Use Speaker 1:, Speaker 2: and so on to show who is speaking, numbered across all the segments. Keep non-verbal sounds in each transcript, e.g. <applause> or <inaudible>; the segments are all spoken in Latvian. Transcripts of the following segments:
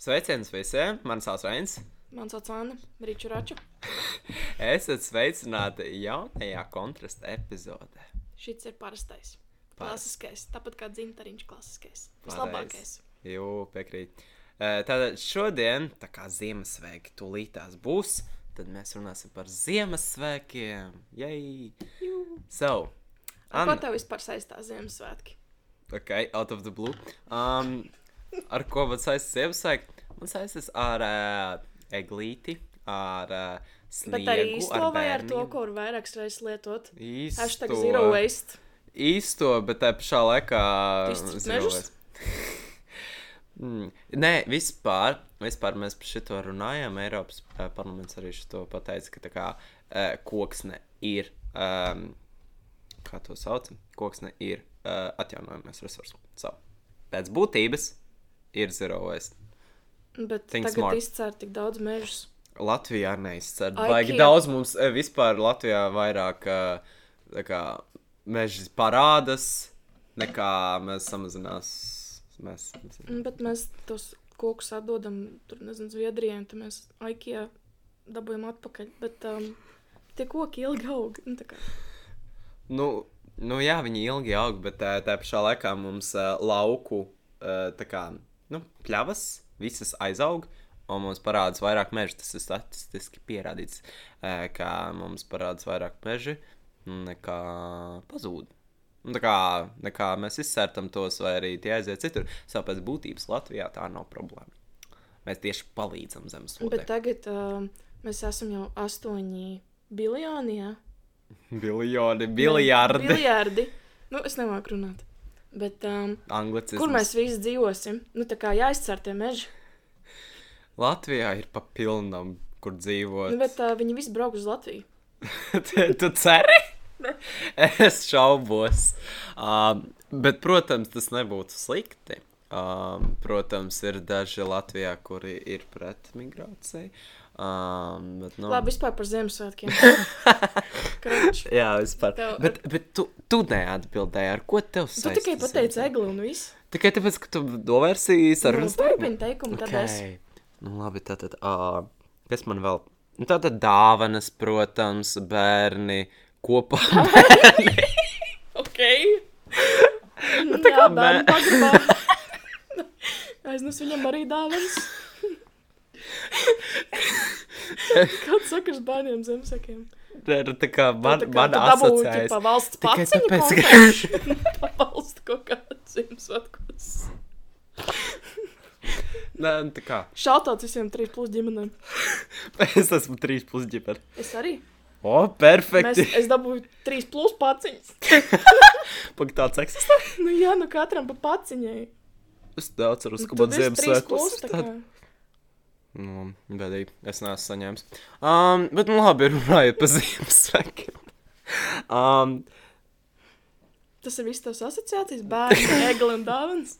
Speaker 1: Sveiciens visiem! Mans vārds ir Rains.
Speaker 2: Mans vārds Anna, Rīču Raču.
Speaker 1: Esat sveicināti jaunajā kontrasta epizodē.
Speaker 2: Šis ir parastais.
Speaker 1: Paras-
Speaker 2: Klasiskais, tāpat kā dzintariņš klasiskais. Vislabākais.
Speaker 1: Pareizi. Jū, piekrīt. Eh, Tātad šodien, tā kā Ziemassvētki tūlītās būs, tad mēs runāsim par Ziemassvētkiem. Jai! So,
Speaker 2: Ar
Speaker 1: Anna.
Speaker 2: ko tev vispār saistās Ziemassvētki?
Speaker 1: Ok, out of the blue. Um, ar ko man saistās Ziemassvētki? Man saistās ar uh, eglīti, ar uh, sniegu,
Speaker 2: Bet arī īsto
Speaker 1: ar,
Speaker 2: vai ar to,
Speaker 1: bērniem.
Speaker 2: ko var vairākas reizes lietot?
Speaker 1: Īsto.
Speaker 2: Hashtag zero waste.
Speaker 1: Īsto, bet tā pašā laikā.
Speaker 2: Izcirst
Speaker 1: zero
Speaker 2: mežus?
Speaker 1: waste. <laughs> Mm, Nē, vispār, vispār mēs par šo runājām. Eiropas eh, parlaments arī šo pateica, ka tā kā, eh, koksne ir. Um, kā to sauc? Koksne ir uh, atjaunojamais resurs. So, pēc būtības ir zero waste.
Speaker 2: Bet
Speaker 1: Think
Speaker 2: tagad
Speaker 1: smart.
Speaker 2: izcērt tik daudz mežus.
Speaker 1: Latvijā neizcer.
Speaker 2: Ai,
Speaker 1: Baigi
Speaker 2: Kiev.
Speaker 1: daudz mums eh, vispār Latvijā vairāk eh, tā kā, meži parādās, nekā mēs samazinās. Mēs, mēs...
Speaker 2: Bet mēs tos kokus atdodam, tur nezinu, Zviedrijai, un tad mēs Aikijā dabūjam atpakaļ. Bet um, tie koki ilgi aug. nu tā kā.
Speaker 1: Nu, nu, jā, viņi ilgi aug, bet eh, tajā pašā laikā mums eh, lauku eh, tā kā, nu, pļavas visas aizaug. Un mums parādās vairāk meža. Tas ir statistiski pierādīts, eh, ka mums parādās vairāk meža nekā pazūd. Un tā kā, nekā mēs izsērtam tos, vai arī tie aiziet citur. Savukārt, pēc būtības Latvijā tā nav problēma. Mēs tieši palīdzam
Speaker 2: Bet
Speaker 1: zemeslodzē.
Speaker 2: tagad um, mēs esam jau astoņi biljoni. Ja?
Speaker 1: Biljoni, biljardi.
Speaker 2: Biljardi. Nu, es nemāku runāt. Bet, um,
Speaker 1: Anglicisms.
Speaker 2: kur mēs visi dzīvosim? Nu, tā kā jāizcer tie meži.
Speaker 1: Latvijā ir pa pilnam, kur dzīvot.
Speaker 2: Nu, bet uh, viņi visi brauc uz Latviju.
Speaker 1: <laughs> tu tu ceri? es šaubos. Um, bet, protams, tas nebūtu slikti. Um, protams, ir daži Latvijā, kuri ir pret migrāciju. Um, bet, nu,
Speaker 2: No. Labi, vispār par
Speaker 1: <laughs>
Speaker 2: Ziemassvētkiem. Krunč.
Speaker 1: Jā, vispār. Tev...
Speaker 2: Tev-
Speaker 1: Bet, bet tu, tu neatbildēji, ar ko tev
Speaker 2: Tu
Speaker 1: saistīts.
Speaker 2: tikai pateici egli un viss.
Speaker 1: Tikai tāpēc, ka tu novērsīji sarunas
Speaker 2: turpini teikumu, tad okay. es.
Speaker 1: Okay. Nu, labi, tātad, uh, kas man vēl? Nu, Tātad dāvanas, protams, bērni kopā.
Speaker 2: <laughs>
Speaker 1: <laughs>
Speaker 2: Ok. Nu, tā kā
Speaker 1: kā
Speaker 2: bērnu
Speaker 1: bē- <laughs>
Speaker 2: pagrabā. Aiznes viņam arī
Speaker 1: <laughs>
Speaker 2: dāvans. Kāds sakars bērniem Ziemassvētkiem?
Speaker 1: Ar, tā kā man,
Speaker 2: Nu, Tā kā
Speaker 1: man
Speaker 2: tu dabūji,
Speaker 1: asociējas.
Speaker 2: ķipa, valsts
Speaker 1: Tikai
Speaker 2: paciņu
Speaker 1: tāpēc,
Speaker 2: <laughs> konkursu. Tā valsts kaut kāds Ziemassvētkos.
Speaker 1: <laughs> Nē, nu, tā kā <laughs>
Speaker 2: Šautāts visiem 3,5 ģimenēm.
Speaker 1: es esmu trīs pusģipari.
Speaker 2: Es arī.
Speaker 1: O,
Speaker 2: Mēs,
Speaker 1: perfekti. <laughs>
Speaker 2: es dabūju 3,5 paciņas.
Speaker 1: Pag tāds eksistē.
Speaker 2: <laughs> Nu jā, nu katram pa paciņai. Nu,
Speaker 1: Es daudz ceru, ka
Speaker 2: Tu
Speaker 1: man
Speaker 2: visi
Speaker 1: Ziemassvētkos
Speaker 2: 3,5 tā
Speaker 1: tāda.
Speaker 2: kā.
Speaker 1: Nu, bedīgi, es neesmu saņēmis. Um, bet, nu, labi, runājot par <laughs> Ziemassvētkiem. Um,
Speaker 2: Tas ir viss tavs asociācijas bērns,
Speaker 1: <laughs>
Speaker 2: egli un dāvans.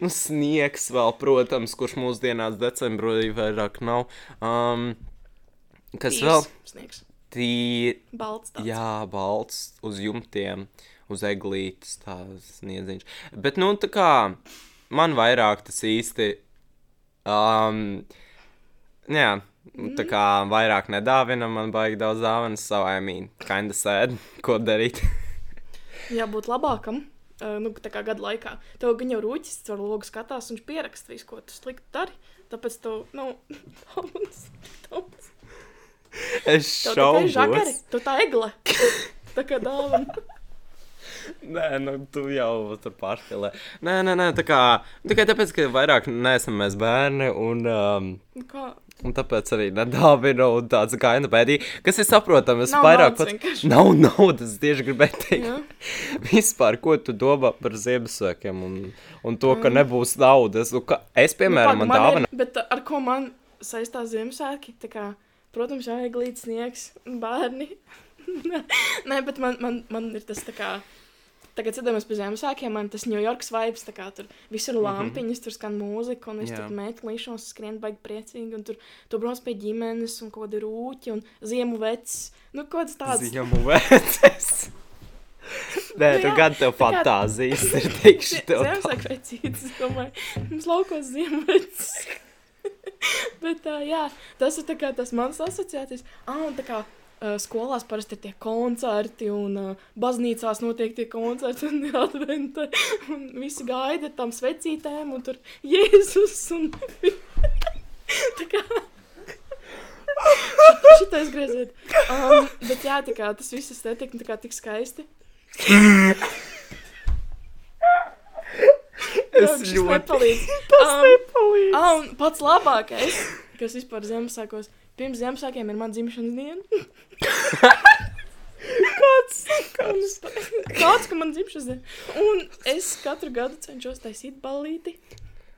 Speaker 1: Nu, sniegs vēl, protams, kurš mūsdienās decembrī vairāk nav. Um, kas
Speaker 2: Tīrs
Speaker 1: vēl?
Speaker 2: Sniegs.
Speaker 1: Tī...
Speaker 2: Balts tāds.
Speaker 1: Jā, balts uz jumtiem, uz eglītes, tā sniedziņš. Bet, nu, tā kā man vairāk tas īsti. Um, jā, nu, tā kā vairāk nedāvina, man baigi daudz dāvanas savai mīnai. Kinda sēd, ko darīt. <laughs>
Speaker 2: Jābūt labākam. Uh, nu, tā kā gada laikā. Tev gan jau rūķis ar logu skatās, viņš pieraksta visu, ko tu slikti dari. Tāpēc tu, nu, <laughs> Toms, Toms.
Speaker 1: Es
Speaker 2: Tev tā kā ir žagari,
Speaker 1: šaubos.
Speaker 2: tu tā
Speaker 1: <laughs>
Speaker 2: egle. Tā kā dāvana.
Speaker 1: Nē, nu, tu jau tur pārspēlē. Nē, nē, nē tā kā. Tikai tāpēc, ka vairāk neesam mēs bērni, un, um,
Speaker 2: Nu kā?
Speaker 1: un tāpēc arī nedāvina un tāds gaina pēdī, kas ir saprotams. Es
Speaker 2: Nav
Speaker 1: vairāk
Speaker 2: naudas vienkārši.
Speaker 1: Nav naudas, tieši gribēju teikt.
Speaker 2: Jā.
Speaker 1: Vispār, ko tu domā par Ziemassvētkiem un, un to, ka nebūs naudas? Nu, ka es, piemēram,
Speaker 2: Mm. Nu,
Speaker 1: nu,
Speaker 2: pag,
Speaker 1: man dāvana.
Speaker 2: Ir, bet ar ko man saistās Ziemassvētki? Tā kā, Protams, jā, eglīts, sniegs, bērni. <laughs> Nē, bet man, man, man ir tas tā kā. Tagad, kad mēs pie Ziemassvētkiem, man tas New York vibes, tā kā tur visur ir lampiņas, tur skan mūzika, un es
Speaker 1: Mhm. Jā.
Speaker 2: tur meklēšos, skrienu baigi priecīgi, un tur tu brauc pie ģimenes, un kaut kādi rūķi, un ziemu vecs. Nu, kaut kas tāds.
Speaker 1: Ziņomu vērtēs.
Speaker 2: <laughs>
Speaker 1: Nē,
Speaker 2: Nu
Speaker 1: tu
Speaker 2: jā,
Speaker 1: gan tev
Speaker 2: tā kā-
Speaker 1: fantāzijas ir tikši tev. tā.
Speaker 2: Ziemassvētku vecītis, domāju, mums laukos ziemu vecs. <laughs> Bet, uh, jā, tas ir tā kā tas mans asociācijas. Ah, un tā kā uh, skolās parasti ir tie koncerti, un uh, baznīcās notiek tie koncerti, un adventa, un visi gaida tam svecītēm, un tur Jēzus un <laughs> tā kā. Šitais grieziet. Um, bet jā, tā kā tas viss estetika, tā kā tik skaisti.
Speaker 1: Es
Speaker 2: šis
Speaker 1: ļoti.
Speaker 2: <laughs> nepalīdz. Um,
Speaker 1: Nepalīdz.
Speaker 2: Ah, un pats labākais, kas vispār Ziemassvētkos, pirms Ziemassvētkiem ir mana dzimšanas diena. <laughs>
Speaker 1: <laughs>
Speaker 2: Kāds, kāds? Kāds, ka man dzimšanas diena. Un es katru gadu cenšos taisīt balīti.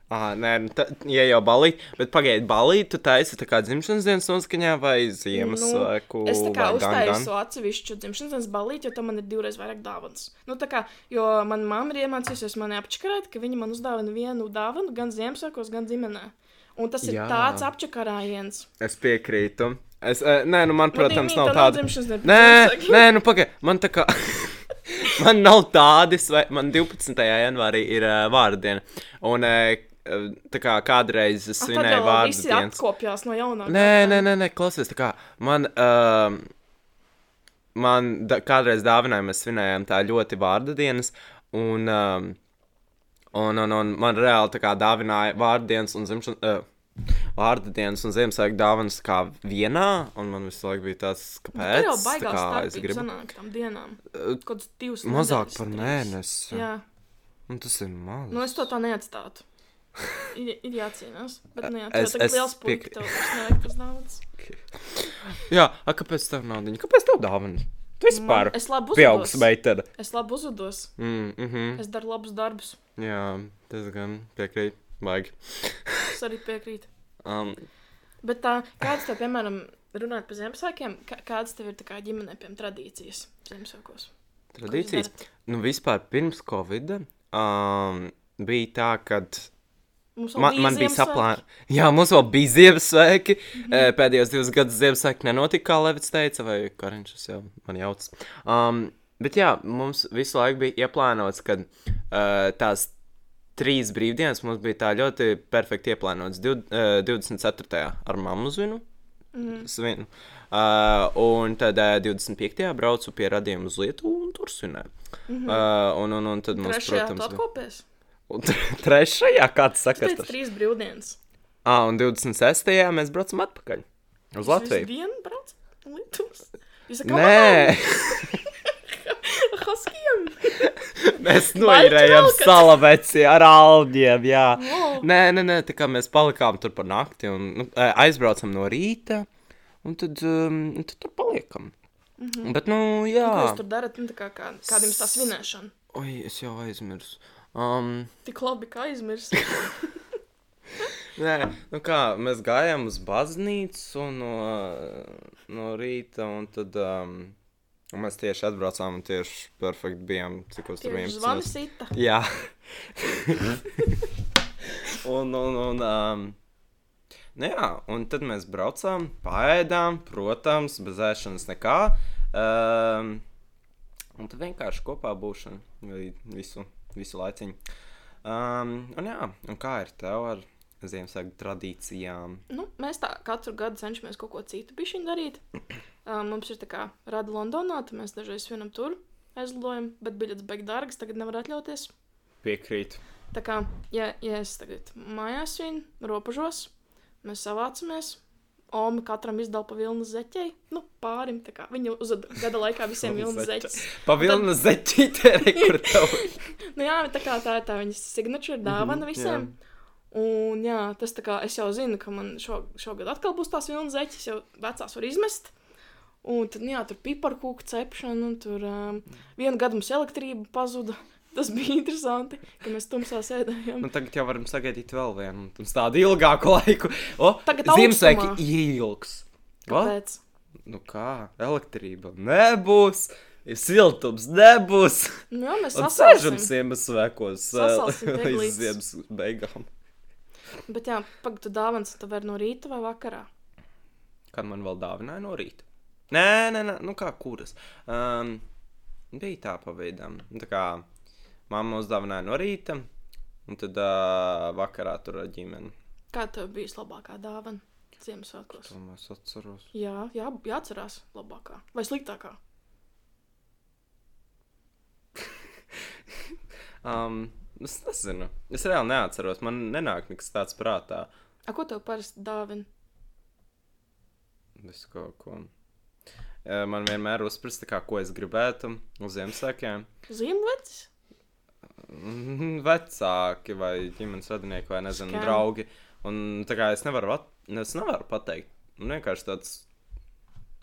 Speaker 1: Ah, nē, nu tā, ja jau balī, bet pagaidi, balī, tu taisi tā kā dzimšanas dienas noskaņā vai Ziemassvētku?
Speaker 2: Nu, Es tā kā
Speaker 1: vai gan, gan?
Speaker 2: uztaisu atsevišķu dzimšanas dienas balīti, jo tam man ir divreiz vairāk dāvanas. Nu, tā kā, jo man mamma ir iemācījusies mani apčakarēt, ka viņa man uzdāvina vienu dāvanu gan Ziemassvētkos, gan ģimenē. Un tas ir
Speaker 1: Jā.
Speaker 2: Jā. tāds apčakarājiens.
Speaker 1: Es piekrītu. Es, eh, nē, nu man, protams,
Speaker 2: Nu,
Speaker 1: nav
Speaker 2: tā nav
Speaker 1: tāda.
Speaker 2: dzimšanas diena.
Speaker 1: Nē,
Speaker 2: Saki.
Speaker 1: nē, nu pagaidi, man tā kā. <laughs> man nav tādas, vai man 12. janvārī ir uh, vārdiena. Un uh, tā kā kādreiz es
Speaker 2: Ah,
Speaker 1: svinēju
Speaker 2: tad jau
Speaker 1: vārdu
Speaker 2: visi
Speaker 1: dienas.
Speaker 2: atkopjās no jaunā.
Speaker 1: Nē, nē, nē, nē klausies, tā kā man. Uh, man da, kādreiz dāvināja, mēs svinējām tā ļoti vārdu dienas, un, um, un, un, un man reāli tā kā dāvināja vārdu dienas un dzimšanas. Uh, Vārdu dienas un Ziemassvētku dāvanas kā vienā, un man visu laiku bija tas, kāpēc.
Speaker 2: Nu, Tur jau
Speaker 1: tā
Speaker 2: baigās
Speaker 1: kā
Speaker 2: tā,
Speaker 1: es
Speaker 2: gribu
Speaker 1: gribu.
Speaker 2: sanākt tam dienām. Kaut kāds divs.
Speaker 1: Mazāk
Speaker 2: nedēļas,
Speaker 1: par
Speaker 2: trīs.
Speaker 1: mēnesi.
Speaker 2: Jā,
Speaker 1: Un tas ir maz.
Speaker 2: nu es to tā
Speaker 1: <laughs>
Speaker 2: neatstātu. Ir, ir jācīnās. Bet nē,
Speaker 1: Es-
Speaker 2: tas ir
Speaker 1: es
Speaker 2: liels
Speaker 1: piek-
Speaker 2: punkts. Tev vairs nevajag pēc naudas.
Speaker 1: Jā, a, kāpēc tev naudiņa? Kāpēc tev dāvana? Tu vispār.
Speaker 2: Man- Es labi
Speaker 1: Pieaugs
Speaker 2: uzvedos.
Speaker 1: meitene.
Speaker 2: Es labi uzvedos.
Speaker 1: Mm, mm -hmm.
Speaker 2: Es daru labus darbus.
Speaker 1: Jā, tas gan piekrīt. Baigi.
Speaker 2: Es arī piekrītu.
Speaker 1: Um,
Speaker 2: Bet tā, kāds tev, piemēram, runāt par Ziemassvētkiem, kā- kādas tev ir tā kā ģimenē, piemēram, tradīcijas Ziemassvētkos?
Speaker 1: Tradīcijas. Nu, vispār pirms Covid um, bija tā, ka
Speaker 2: Mums vēl
Speaker 1: man, man bija
Speaker 2: Ziemassvētki.
Speaker 1: saplānota. Jā, mums vēl bija Ziemassvētki. Mm -hmm. Pēdējos divus gadus Ziemassvētki nenotika, kā Levis teica, vai Kariņš jau man jauc. Um, bet jā, mums visu laiku bija ieplānots, ka uh, tās trīs brīvdienas mums bija tā ļoti perfekti ieplānotas. Div- eh, 24. ar mammu zvinu. Mm. Svinu. Uh, un tad uh, 25. braucu pie radījuma uz Lietuvu un tur svinēju. Mm -hmm. uh, un, un, un tad mums,
Speaker 2: Trešajā
Speaker 1: protams,
Speaker 2: tu
Speaker 1: bija-
Speaker 2: atkopies.
Speaker 1: Un <laughs> Trešajā, kāds saka,
Speaker 2: Pēc
Speaker 1: tas ir.
Speaker 2: trīs brīvdienas.
Speaker 1: Ah, un 26. mēs braucam atpakaļ uz Latviju.
Speaker 2: Vienu brauc Lietuvas. Jūs esat
Speaker 1: Nē,
Speaker 2: <laughs> Haskijam.
Speaker 1: <laughs> mēs noirējām
Speaker 2: Balti
Speaker 1: salaveci ar alģiem, jā.
Speaker 2: Wow.
Speaker 1: Nē, nē, nē, tā kā mēs palikām tur par nakti un nu, ē, aizbraucam no rīta, un tad, um, un tad tur paliekam. Bet, nu,
Speaker 2: Mhm. Ko
Speaker 1: jā.
Speaker 2: jūs tur darat? Nu, tā kā, kā, kāda jums tā svinēšana?
Speaker 1: Oi, es jau aizmirsu. Um,
Speaker 2: Tik labi, ka aizmirst.
Speaker 1: Nē, nu kā mēs gājām uz baznīcu no, no rīta, un tad um, un mēs tieši atbraucām un tieši perfekti bijām. Cik uz
Speaker 2: Tieši
Speaker 1: 11?
Speaker 2: zvani sita.
Speaker 1: Jā. <laughs> un, un, un, um, nu jā, un tad mēs braucām, pāēdām, protams, bez ēšanas nekā. Um, un tad vienkārši kopā būšana vi- visu, visu laiciņu. Um, un jā, un kā ir tev ar Ziemassvētku tradīcijām?
Speaker 2: Nu, mēs tā katru gadu cenšamies kaut ko citu bišķiņu darīt. Uh, mums ir tā kā rada Londonā, tad mēs dažreiz vienam tur aizlidojam, bet biļets beig dārgas, tagad nevar atļauties.
Speaker 1: Piekrītu.
Speaker 2: Tā kā, ja, ja es tagad mājās svinu, robežos, mēs savācamies. Oma katram izdala pa vilnu zeķei. Nu, pārim, tā kā viņa uz gada laikā visiem vilnu zeķis.
Speaker 1: Pavilna zeķītē, re, kur tev ir.
Speaker 2: Nu, jā, bet tā kā tā ir tā viņas signature dāvana visiem.
Speaker 1: Mhm, jā.
Speaker 2: Un jā, tas tā kā es jau zinu, ka man šo, šogad atkal būs tās vilnas zeķes, jau vecās var izmest. Un tad, nu jā, tur piparkūka cepšana, un tur um, vienu gadu mums elektrība pazuda. <laughs> Tas bija interesanti, ka mēs tumsā sēdējām.
Speaker 1: Nu, tagad jau varam sagaidīt vēl vienu, un tas tādu ilgāku <laughs> laiku. O,
Speaker 2: Tagad
Speaker 1: Ziemassvētki
Speaker 2: augstumā.
Speaker 1: ilgs. Ko?
Speaker 2: Kāpēc?
Speaker 1: Nu kā, elektrība nebūs, siltums nebūs.
Speaker 2: Nu jā, mēs
Speaker 1: Un sēžam
Speaker 2: sasaucamies.
Speaker 1: Ziemassvētkos
Speaker 2: Sasalsim
Speaker 1: eh, līdz
Speaker 2: peglītes.
Speaker 1: ziemas beigām.
Speaker 2: Bet jā, pagaidi, tu dāvāns, tu vari no rīta vai vakarā.
Speaker 1: Kad man vēl dāvināja no rīta. Nē, nē, nē nu kā kuras. Um, bija tā pavisam. Tā kā mamma uzdāvināja no rīta, un tad uh, vakarā eh, tur ar ģimeni.
Speaker 2: Kā tev bija labākā dāvana Ziemassvētkos?
Speaker 1: To es atceros.
Speaker 2: Jā, jā, jāatcerās labākā vai sliktākā.
Speaker 1: Um, es nezinu. Es reāli neatceros. Man nenāk nekas tāds prātā.
Speaker 2: A, ko tev parasti dāvina?
Speaker 1: Visu kaut ko. Eh, Man vienmēr uzsprāst, kā, ko es gribētu uz Ziemassvētkiem. <laughs>
Speaker 2: Ziemassvētku?
Speaker 1: Mm, Vecāki vai ģimenes radinieki vai nezinu,
Speaker 2: Skan.
Speaker 1: Skan. draugi. Un tā kā es nevaru, at... es nevaru pateikt. Man vienkārši tāds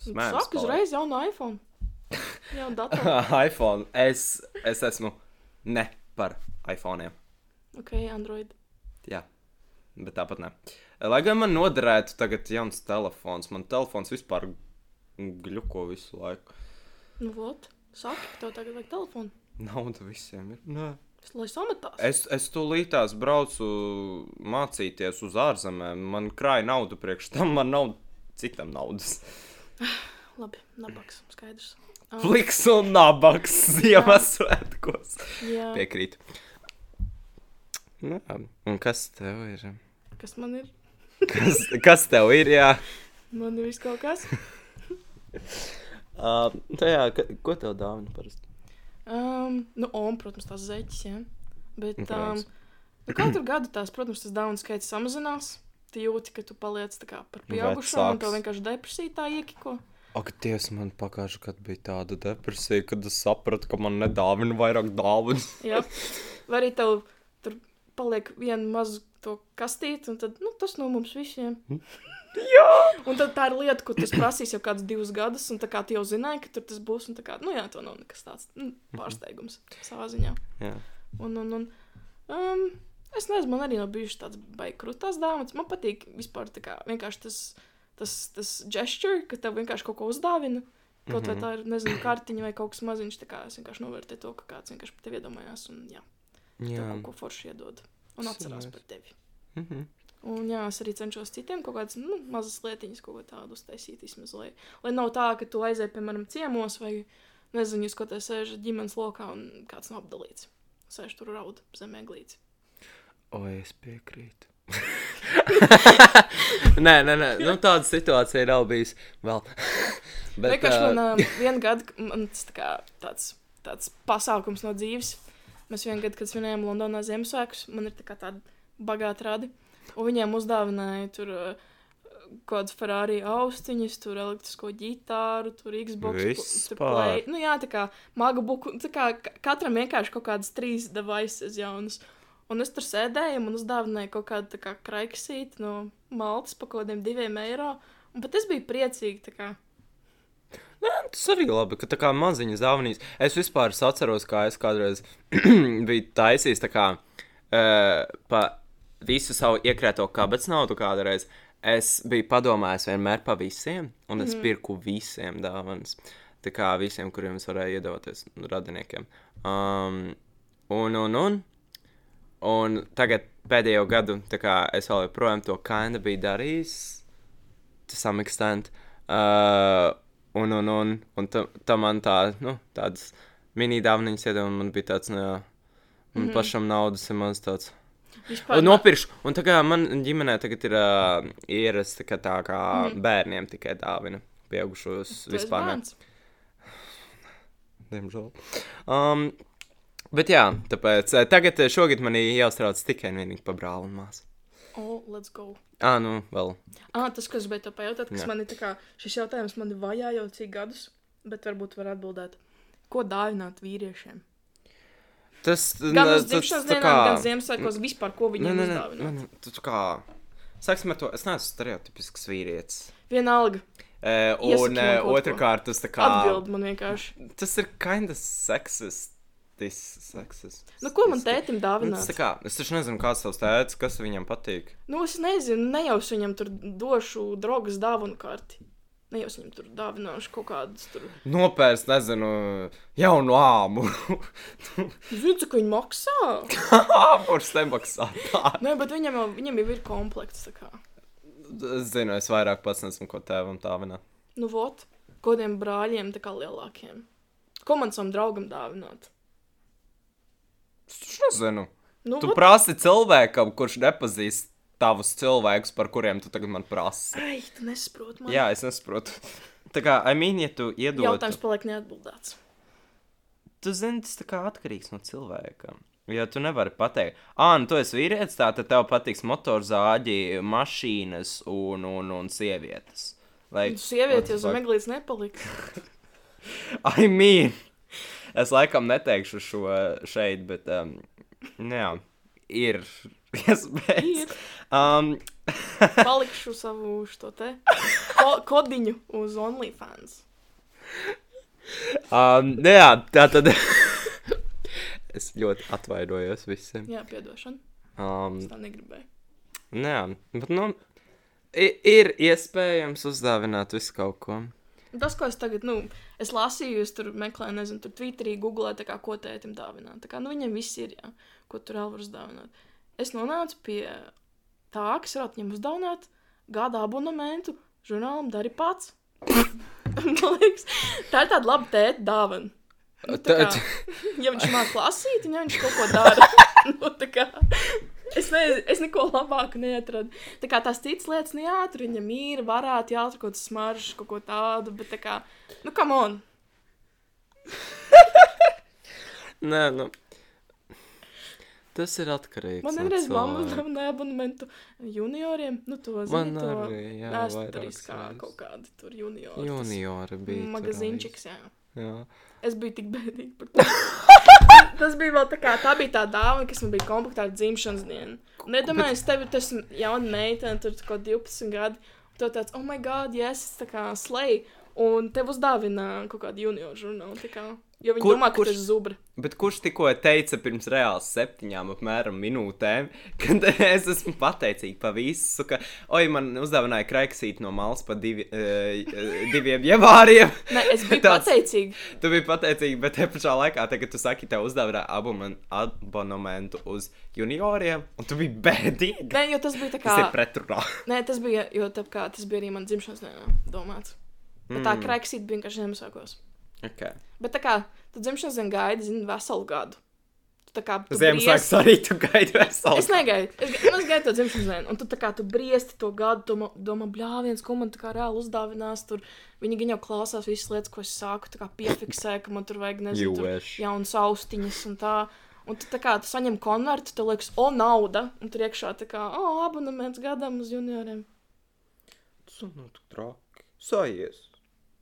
Speaker 1: smēķis.
Speaker 2: Saka, uzreiz jaunu iPhone. Jā, datoru.
Speaker 1: <laughs> iPhone. Es, es esmu ne par iPhone.
Speaker 2: Ok, Android.
Speaker 1: Jā, bet tāpat ne. Lai gan man noderētu tagad jauns telefons, man telefons vispār gluko visu laiku.
Speaker 2: Nu, vot, saka, tev tagad vajag telefonu.
Speaker 1: Nauda visiem ir. Nē.
Speaker 2: Es, lai sametās.
Speaker 1: Es, es tūlītās braucu mācīties uz ārzemēm. Man krāja naudu priekš tam, man nav citam <laughs> naudas.
Speaker 2: Labi, nabaks, skaidrs.
Speaker 1: Pliks un nabaks Ziemassvētkos.
Speaker 2: Jā,
Speaker 1: Piekrīt. Nā, un kas tev <laughs> ir?
Speaker 2: kas man ir?
Speaker 1: Kas, kas tev ir? Jā,
Speaker 2: Man ir viss kaut kas.
Speaker 1: uh, jā ka, ko tev dāvina parasti?
Speaker 2: Um, nu, un, protams, tās zeķis, jā. Bet
Speaker 1: Nu,
Speaker 2: um,
Speaker 1: protams.
Speaker 2: nu, katru gadu tās, protams, tas daunu skaits samazinās. Tu jūti, ka tu paliec tā kā par pieaugušo, un
Speaker 1: Nu, Vecāks.
Speaker 2: tev vienkārši depresija tā iekiko.
Speaker 1: Ak, Dievs, man pagājušajā gadā bija tāda depresija, kad es sapratu, ka man nedāvina vairāk dāvanas.
Speaker 2: Jā. Vai arī tev tur paliek viena maza to kastīte, un tad, nu, tas no mums visiem. jā! Un tad tā ir lieta, ko tas prasīs jau kādus divus gadus, un tā kā tu jau zināji, ka tur tas būs, un tā kā, nu jā, to nav nekas tāds nu, pārsteigums savā ziņā.
Speaker 1: <laughs> Jā,
Speaker 2: Un, un, un um, es nezinu, man arī nav bijušas tādas baigrūtās dāmas. Man patīk vispār tā kā vienkārši tas, tas, tas gesture, ka tev vienkārši kaut ko uzdāvina. Kaut mm -hmm. vai tā ir, nezinu, kartiņa vai kaut kas maziņš. tā Kā, es vienkārši novērtēju to, ka kāds vienkārši par tevi iedomājās un jā, tev
Speaker 1: jā.
Speaker 2: kaut ko forši iedod un atcerās
Speaker 1: Super.
Speaker 2: par tevi.
Speaker 1: Mm -hmm.
Speaker 2: Un jā, es arī cenšos citiem kaut kādas nu, mazas lietiņas, kaut ko tādu uztaisīt. Vismaz, lai, lai nav tā, ka tu aizej, piemēram, ciemos vai nezinu, jūs kaut kādā sēžat ģimenes lokā un kāds nav apdalīts. Sēž tur raud zemē glīts.
Speaker 1: O, es piekrītu. <laughs> nē, nē, nē. Nu, tāda situācija nav bijusi vēl. <laughs>
Speaker 2: Bet,
Speaker 1: Bet,
Speaker 2: vienkārši
Speaker 1: ā,
Speaker 2: man uh,
Speaker 1: <laughs>
Speaker 2: vienā gadā man tas tā kā, tāds, tāds pasākums no dzīves. Mēs vienā gadā, kad svinējām Londonā Ziemassvētkus, man ir tā kā tādi bagāti radi. Un viņiem uzdāvināja tur uh, kaut kādas Ferrari austiņas, tur elektrisko ģitāru, tur Xbox. pl-
Speaker 1: Vispār.
Speaker 2: tur Play. Nu, jā, tā kā magabuku. Tā kā ka- katram vienkārši kaut kādas trīs devices jaunas. Un es tur sēdēju, un man uzdāvināja kaut kādu tā kā kraiksīti no Maltas par kaut kādiem diviem eiro. Un pat es biju priecīga. tā kā.
Speaker 1: Tas arī labi, ka tā kā maziņas dāvanas. Es vispār es atceros, kā es kādreiz <clears throat> biju taisījis tā kā uh, pa visu savu iekrēto kabatas naudu kādreiz. Es biju padomājis vienmēr par visiem, un es mm. pirku visiem dāvanas. Tā kā visiem, kuriem es varēju iedoties nu, radiniekiem. Um, un, un, un. Un tagad pēdējo gadu, tā kā es vēl joprojām to kaina biju darījis, to some extent. Uh, un, un, un, un tam ta man tā, nu, tādas mini-dāvaniņas iedeva, un man bija tāds, nu, jā,
Speaker 2: Mhm.
Speaker 1: man mm. pašam naudas ir maz tāds.
Speaker 2: Vispār,
Speaker 1: Un nopirkšu, un tā kā man ģimenē tagad ir uh, ierasta, ka tā kā
Speaker 2: Mhm.
Speaker 1: mm. bērniem tikai dāvina. Pieaugušos vispār ne. Diemžēl. Um, bet jā, tāpēc eh, tagad eh, šogad man ir jāuztrauc tikai un vienīgi par brāli un māsu.
Speaker 2: Oh, let's go.
Speaker 1: Ah, nu, vēl.
Speaker 2: Ah, tas, kas bija pajautāt, kas
Speaker 1: Jā.
Speaker 2: man ir tā kā, šis jautājums man ir vajā jau cik gadus, bet varbūt var atbildēt. Ko dāvināt vīriešiem?
Speaker 1: Tas
Speaker 2: Gan
Speaker 1: nā,
Speaker 2: uz
Speaker 1: tas-
Speaker 2: dzimšanas
Speaker 1: tā
Speaker 2: dienām, gan Ziemassvētkos vispār, ko
Speaker 1: Nē,
Speaker 2: viņiem
Speaker 1: nē, nē,
Speaker 2: uzdāvināt.
Speaker 1: nē, tu tu kā. Sāksim ar to, es neesmu stereotipisks vīrietis.
Speaker 2: Vienalga,
Speaker 1: E,
Speaker 2: Iesaki
Speaker 1: un
Speaker 2: man
Speaker 1: e,
Speaker 2: kaut ko.
Speaker 1: otrkārt, tas tā kā.
Speaker 2: atbild man vienkārši.
Speaker 1: Tas ir kind of sexist. Sexist.
Speaker 2: Nu, ko man tētim
Speaker 1: Nu, tas
Speaker 2: dāvināt?
Speaker 1: tā kā, es taču nezinu, kāds tavs tēvs, kas viņam patīk.
Speaker 2: Nu, es nezinu, ne jau es viņam tur došu draugas dāvanu karti. Ne jau es viņam tur dāvināšu kaut kādus tur.
Speaker 1: Nopērst, nezinu, jaunu āmu. <laughs>
Speaker 2: Zinu, cik viņi maksā.
Speaker 1: Āmurs nemaksā. Tā.
Speaker 2: Nē, bet viņam jau, viņam jau ir komplekts. tā kā.
Speaker 1: Es zinu, es vairāk pats nesmu, ko tēvam dāvināt.
Speaker 2: Nu, vot, kodiem brāļiem, tā kā lielākiem. Ko man savam draugam dāvināt?
Speaker 1: Es taču nezinu.
Speaker 2: Nu,
Speaker 1: Tu
Speaker 2: vot, nu.
Speaker 1: prasi cilvēkam, kurš nepazīst tavus cilvēkus, par kuriem tu tagad man prasi.
Speaker 2: Ai, tu nesaproti, man
Speaker 1: Jā, es nesaprotu. <laughs> Tā kā, I mean, ja tu iedod.
Speaker 2: jautājums paliek neatbildēts.
Speaker 1: Tu zini, tas tā kā atkarīgs no cilvēka. Ja tu nevari pateikt, ah, nu, tu esi vīrietis, tā, tad tev patiks motorzāģi, mašīnas un, un, un sievietes. Like,
Speaker 2: Jūs sievieti Nu, jau
Speaker 1: what the
Speaker 2: zem eglītes nepalika.
Speaker 1: fuck? I mean, <laughs> es laikam neteikšu šo šeit, bet, um, nu jā, ir <laughs> iespējas.
Speaker 2: Ir.
Speaker 1: Um,
Speaker 2: Palikšu savu šo te ko kodiņu uz OnlyFans.
Speaker 1: um, nu jā, tā tad. <laughs> es ļoti atvainojos visiem.
Speaker 2: Jā, piedošana.
Speaker 1: Um,
Speaker 2: Es tā negribēju.
Speaker 1: nu jā, bet, nu, i- ir iespējams uzdāvināt visu kaut ko.
Speaker 2: Tas, ko es tagad, nu, es lasīju, es tur meklēju, nezinu, tur Twitterī, Google, tā kā, ko tētim dāvināt. Tā kā, nu, viņam viss ir, jā, ko tur vēl var uzdāvināt. Es nonācu pie tā, kas var viņam uzdāvināt gada abonementu žurnālam dari pats. <laughs> Man liekas, tā ir tāda laba tēta dāvana. Nu, tā
Speaker 1: Tā-
Speaker 2: kā, ja viņš māca lasīt, un ja viņš kaut ko dara, <laughs> nu, tā kā. Es, ne, es neko labāku neatradu. Tā kā tās citas lietas neatrādās, viņam ir, varētu jāatrod kaut kāds smaržs, kaut ko tādu, bet tā kā, nu, kam on?
Speaker 1: Nē, nu. Tas ir atkarīgs.
Speaker 2: Man
Speaker 1: no
Speaker 2: vienreiz mamma
Speaker 1: cilvēka.
Speaker 2: uzdāvināja abonementu junioriem, nu, to
Speaker 1: Man
Speaker 2: zinu.
Speaker 1: arī, jā, vairākas
Speaker 2: Es tur izkāpu
Speaker 1: reizes.
Speaker 2: kaut kādu tur junioru. tas
Speaker 1: Juniori bija.
Speaker 2: Magazīnčiks, jā.
Speaker 1: tur, Jā.
Speaker 2: Es biju tik bēdīga par to. <laughs> Tas bija vēl tā, kā, tā bija tā dāvana, kas man bija komplektā ar dzimšanas dienu. Nedomāju, es tevi tas jaunu meiteni, tur kaut kā 12 gadi. un Tev tāds, oh, my god, yes, es tā kā slēdzu. Un tev uzdāvināja kaut kādu junioru žurnālu. tā Kā, jo viņi
Speaker 1: Kur-
Speaker 2: domā, ka
Speaker 1: kurš-
Speaker 2: tas ir zubra.
Speaker 1: Bet kurš tikko teica pirms reāli septiņām apmēram minūtēm, <laughs> kad es esmu pateicīga par visu, ka, oi, man uzdāvināja kraiksīt no malas par divi, uh, diviem <laughs> javāriem.
Speaker 2: Nē,
Speaker 1: <laughs>
Speaker 2: es biju
Speaker 1: Tāds-
Speaker 2: pateicīga.
Speaker 1: Tu biji pateicīga, bet te pašā laikā, te, kad tu saki, tev uzdāvināja abomen- abonementu uz junioriem, un tu biji bēdīga.
Speaker 2: Nē, jo tas bija tā
Speaker 1: Tas ir
Speaker 2: kā. <laughs>
Speaker 1: pretrunā.
Speaker 2: Nē, tas bija, jo tā kā, tas bija arī man dzimšanas dienā domāts. Mm. Tā kā krāksīt bija vienkārši Ziemassvētkos.
Speaker 1: Okay.
Speaker 2: Bet tā kā tu dzimšanas dienu gaidi, zini, veselu gadu. Tu tā kā tu briest-
Speaker 1: Ziemassvētku arī tu gaidi veselu.
Speaker 2: Es negaidu, es, ga- nu, es gaidu to dzimšanas dienu, un tu tā kā tu briesti to gadu, domā, domā bļāviens, ko man tā kā reāli uzdāvinās. Tur viņi gan jau klausās visas lietas, ko es sāku, tā kā piefiksē, ka man tur vajag nezinu, tur
Speaker 1: Jūveš.
Speaker 2: jaunas austiņas un tā. Un tu tā kā tu saņem konvertu, tev liekas, o, nauda, un tur iekšā tā kā, o, abonements gadam uz junioriem.
Speaker 1: Tu nu tu traki. Sojies.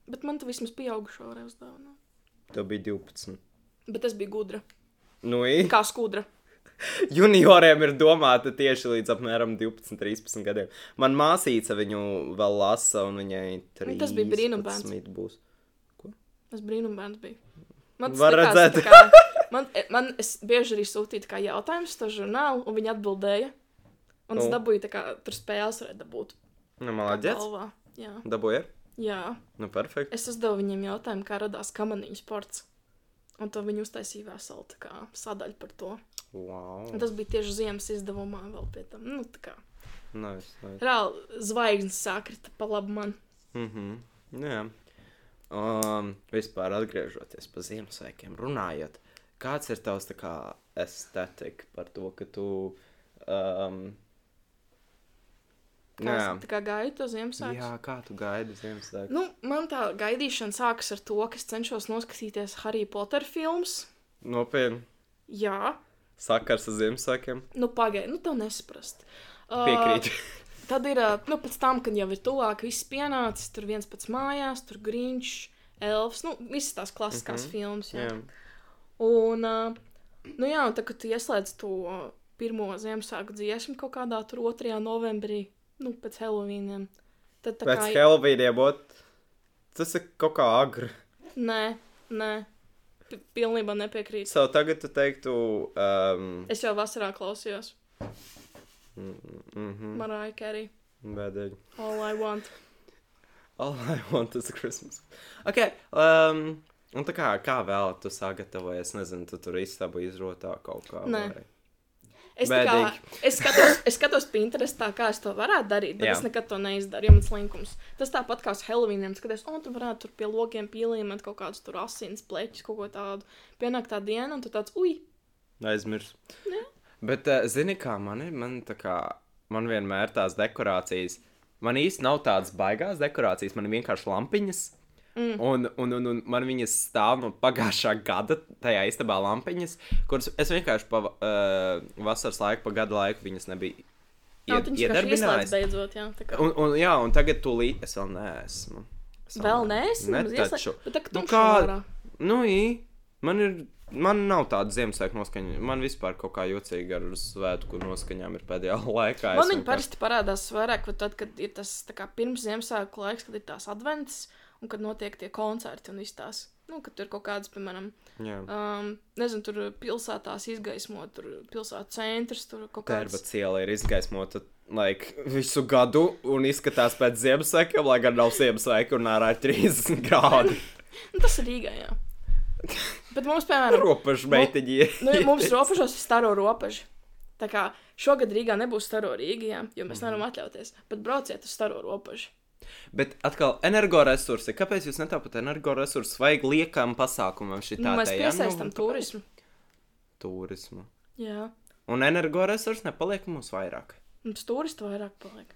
Speaker 2: Bet man tas vismaz pieaugušo varēja uzdāvināt.
Speaker 1: Tev bija 12.
Speaker 2: nu. Bet es biju gudra,
Speaker 1: Nu, i-
Speaker 2: kā skudra.
Speaker 1: <laughs> junioriem ir domāta tieši līdz apmēram 12, 13 gadiem. Man māsīca viņu vēl lasa, un viņai
Speaker 2: Nu,
Speaker 1: 3.
Speaker 2: tas bija brīnumbērns.
Speaker 1: Būs.
Speaker 2: Es brīnumbērns biju. Man tas
Speaker 1: Var
Speaker 2: likās,
Speaker 1: redzēt.
Speaker 2: tā kā- Man, e, man es bieži arī sūtīju tā kā jautājumus to žurnālu, un viņi atbildēja. Un es
Speaker 1: Nu.
Speaker 2: dabūju, tā kā tur spēles varēja dabūt.
Speaker 1: Nu, malāģēts.
Speaker 2: Galvā. Jā.
Speaker 1: Dabūja.
Speaker 2: Jā.
Speaker 1: Nu, perfekti.
Speaker 2: Es uzdevu viņiem jautājumu, kā radās kamaniņu sports. Un to viņi uztaisīja veselu tā kā, sadaļu par to.
Speaker 1: Wow.
Speaker 2: Un tas bija tieši ziemas izdevumā vēl pie tam. Nu, tā kā.
Speaker 1: Nice, nice.
Speaker 2: Reāli zvaigznes sakrita pa labu man.
Speaker 1: Mhm. Nu, jā. Um, vispār atgriežoties pie Ziemassvētkiem, runājot, kāds ir tavs tā kā estētika par to, ka tu. Um,
Speaker 2: Kā, es, tā kā gaidu to Ziemassvētku.
Speaker 1: Jā, kā tu gaidi Ziemassvētku?
Speaker 2: Nu, man tā gaidīšana sākas ar to, ka es cenšos noskatīties Harry Potter filmas.
Speaker 1: Nopietni,
Speaker 2: Jā,
Speaker 1: sakars ar Ziemassvētkiem.
Speaker 2: nu pagaidi, nu tev nesprast. Uh,
Speaker 1: Piekrītu.
Speaker 2: <laughs> Tad ir, uh, nu, pēc tam, kad jau ir tuvāk, viss pienācis, tur viens pats mājās, tur grīņš, elfs, nu, visas tās klasiskās mm -hmm. filmas. Jā.
Speaker 1: Mhm. jā.
Speaker 2: Jā. Un, uh, nu jā, un tā, kad tu ieslēdz to pirmo Ziemassvētku dziesmu kaut kādā tur 2. novembrī, nu, pēc Helovīniem, tad tā
Speaker 1: Pēc
Speaker 2: kā...
Speaker 1: Helvīdiem būtu. Tas ir kaut kā agri.
Speaker 2: Nē, nē, P- pilnībā nepiekrītu.
Speaker 1: Savu tagad tu teiktu, um,
Speaker 2: Es jau vasarā klausījos. Marāja Kerija.
Speaker 1: bēdēļ.
Speaker 2: All I want.
Speaker 1: All I want is Christmas. Ok, um, un tā kā, kā vēl tu sagatavojies, nezinu, tu tur istabu izrotā kaut kā.
Speaker 2: Nē.
Speaker 1: vai-
Speaker 2: Es, tā kā, es skatos, es skatos Pinterestā, kā es to varētu darīt, bet
Speaker 1: Jā.
Speaker 2: Jā. es nekad to neizdaru, jo mans linkums. Tas tāpat kā uz Helovīniem, kad es, un tur varētu tur pie logiem pielīmēt kaut kādus tur asins pleķus, kaut ko tādu. Pienāk tā diena, un tu tāds, ui,
Speaker 1: Aizmirsu.
Speaker 2: Nē.
Speaker 1: eh, Bet, uh, zini, kā man ir, man tā kā, man vienmēr tās dekorācijas. Man īsti nav tādas baigās dekorācijas, man ir vienkārši lampiņas. Mm. Un, un, un, un man viņas stāv no pagājušā gada tajā istabā lampiņas, kuras es vienkārši pa uh, vasaras laiku, pa gada laiku viņas nebija
Speaker 2: Jā,
Speaker 1: ied-
Speaker 2: viņš ir
Speaker 1: iedarbinājis.
Speaker 2: izslēgts beidzot. Jā, tā kā.
Speaker 1: Un, un, jā, un tagad tūlīt es vēl neesmu. Es
Speaker 2: Vēl neesmu
Speaker 1: Ne
Speaker 2: uz
Speaker 1: taču.
Speaker 2: ieslēg- bet tā kā
Speaker 1: nu,
Speaker 2: tumšā
Speaker 1: kā,
Speaker 2: vārā.
Speaker 1: nu, ī, man ir, man nav tāda Ziemassvētku noskaņa. Man vispār kaut kā jocīgi ar svētku noskaņām ir pēdējā <laughs> laikā.
Speaker 2: Man viņa parasti parādās vairāk, vai tad, kad ir tas tā kā pirms Ziemassvētku laiks, kad ir tās advents un kad notiek tie koncerti un viss tās. Nu, kad tur ir kaut kādas, piemēram,
Speaker 1: Jā,
Speaker 2: um, nezinu, tur pilsētās izgaismo, tur pilsētas centrs, tur kaut
Speaker 1: tērba
Speaker 2: kāds.
Speaker 1: ciela ir izgaismota. Like, visu gadu, un izskatās pēc Ziemassvētkiem, lai gan nav Ziemassvētku un ārā ir 30
Speaker 2: <laughs>
Speaker 1: grādi.
Speaker 2: Nu, tas ir Rīgā,
Speaker 1: <laughs>
Speaker 2: jā. Bet mums, piemēram,
Speaker 1: Ropašu meitiņi.
Speaker 2: nu, mums robežos ir staro robežu. Tā kā šogad Rīgā nebūs staro Rīgā, jā, jo mēs
Speaker 1: Mhm.
Speaker 2: nevaram atļauties. Bet brauciet uz staro robežu.
Speaker 1: Bet atkal, energoresursi. Kāpēc jūs netaupat energoresursus? Vajag liekam pasākumam šī
Speaker 2: Nu,
Speaker 1: tā
Speaker 2: mēs piesaistām turismu.
Speaker 1: turismu.
Speaker 2: Jā,
Speaker 1: Un energoresursi nepaliek mums vairāk.
Speaker 2: mums turistu vairāk paliek.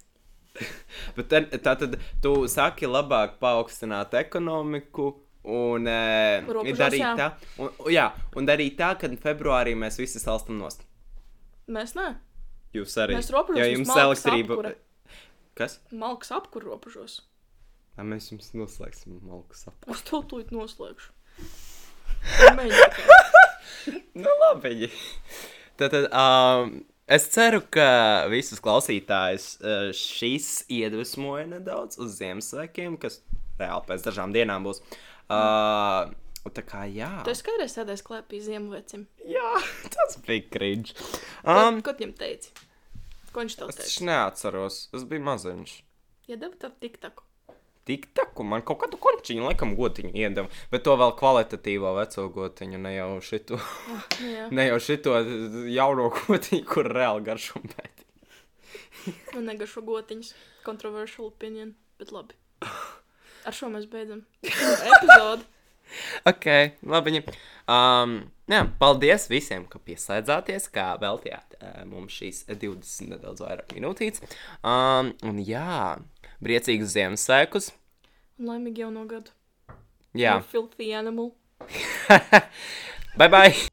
Speaker 1: Bet en- tā tad tu saki, labāk paaugstināt ekonomiku. Un, e,
Speaker 2: Robežās,
Speaker 1: darīt
Speaker 2: jā.
Speaker 1: tā, un, jā, un darīt tā, ka februārī mēs visi salstam nost.
Speaker 2: Mēs ne.
Speaker 1: Jūs arī.
Speaker 2: Mēs robežos
Speaker 1: jo
Speaker 2: mums
Speaker 1: jums
Speaker 2: malkas
Speaker 1: elektrība.
Speaker 2: apkure.
Speaker 1: Kas?
Speaker 2: Malks apkur robežos.
Speaker 1: Nā, mēs jums noslēgsim malkas ap.
Speaker 2: Es to tūlīt noslēgšu. Mēģiniet tikai.
Speaker 1: Nu, labi. Tad, tad um, es ceru, ka visus klausītājus uh, šis iedvesmoja nedaudz uz Ziemassvētkiem, kas reāli pēc dažām dienām būs. Uh, tā kā jā,
Speaker 2: Tu esi kādreiz sēdējis klēpī ziemvecim.
Speaker 1: jā <laughs> tas bija krīdž.
Speaker 2: Um,
Speaker 1: Um,
Speaker 2: ko tu viņam teici? Ko viņš tev
Speaker 1: es taču
Speaker 2: teica?
Speaker 1: neatceros, es biju maziņš.
Speaker 2: Iedeva tev tik taku.
Speaker 1: Tik taku, man kaut kādu končiņu, laikam, gotiņu iedeva, bet to vēl kvalitatīvo veco gotiņu, ne jau šitu,
Speaker 2: Nu, jā,
Speaker 1: <laughs> ne jau šito jauno gotiņu, kur reāli garšumu pētīt.
Speaker 2: man negašo Nu, gotiņas. Controversial opinion, bet labi. Ar šo mēs beidzam. Epizodi.
Speaker 1: Ok, labi. Um, jā, paldies visiem, ka pieslēdzāties, kā veltījāt uh, mums šīs 20 nedaudz vairāk minūtītes. Um, un jā, priecīgus Ziemassvētkus.
Speaker 2: Un laimīgi jauno gadu.
Speaker 1: Jā,
Speaker 2: You filthy animal.
Speaker 1: <laughs> bye bye!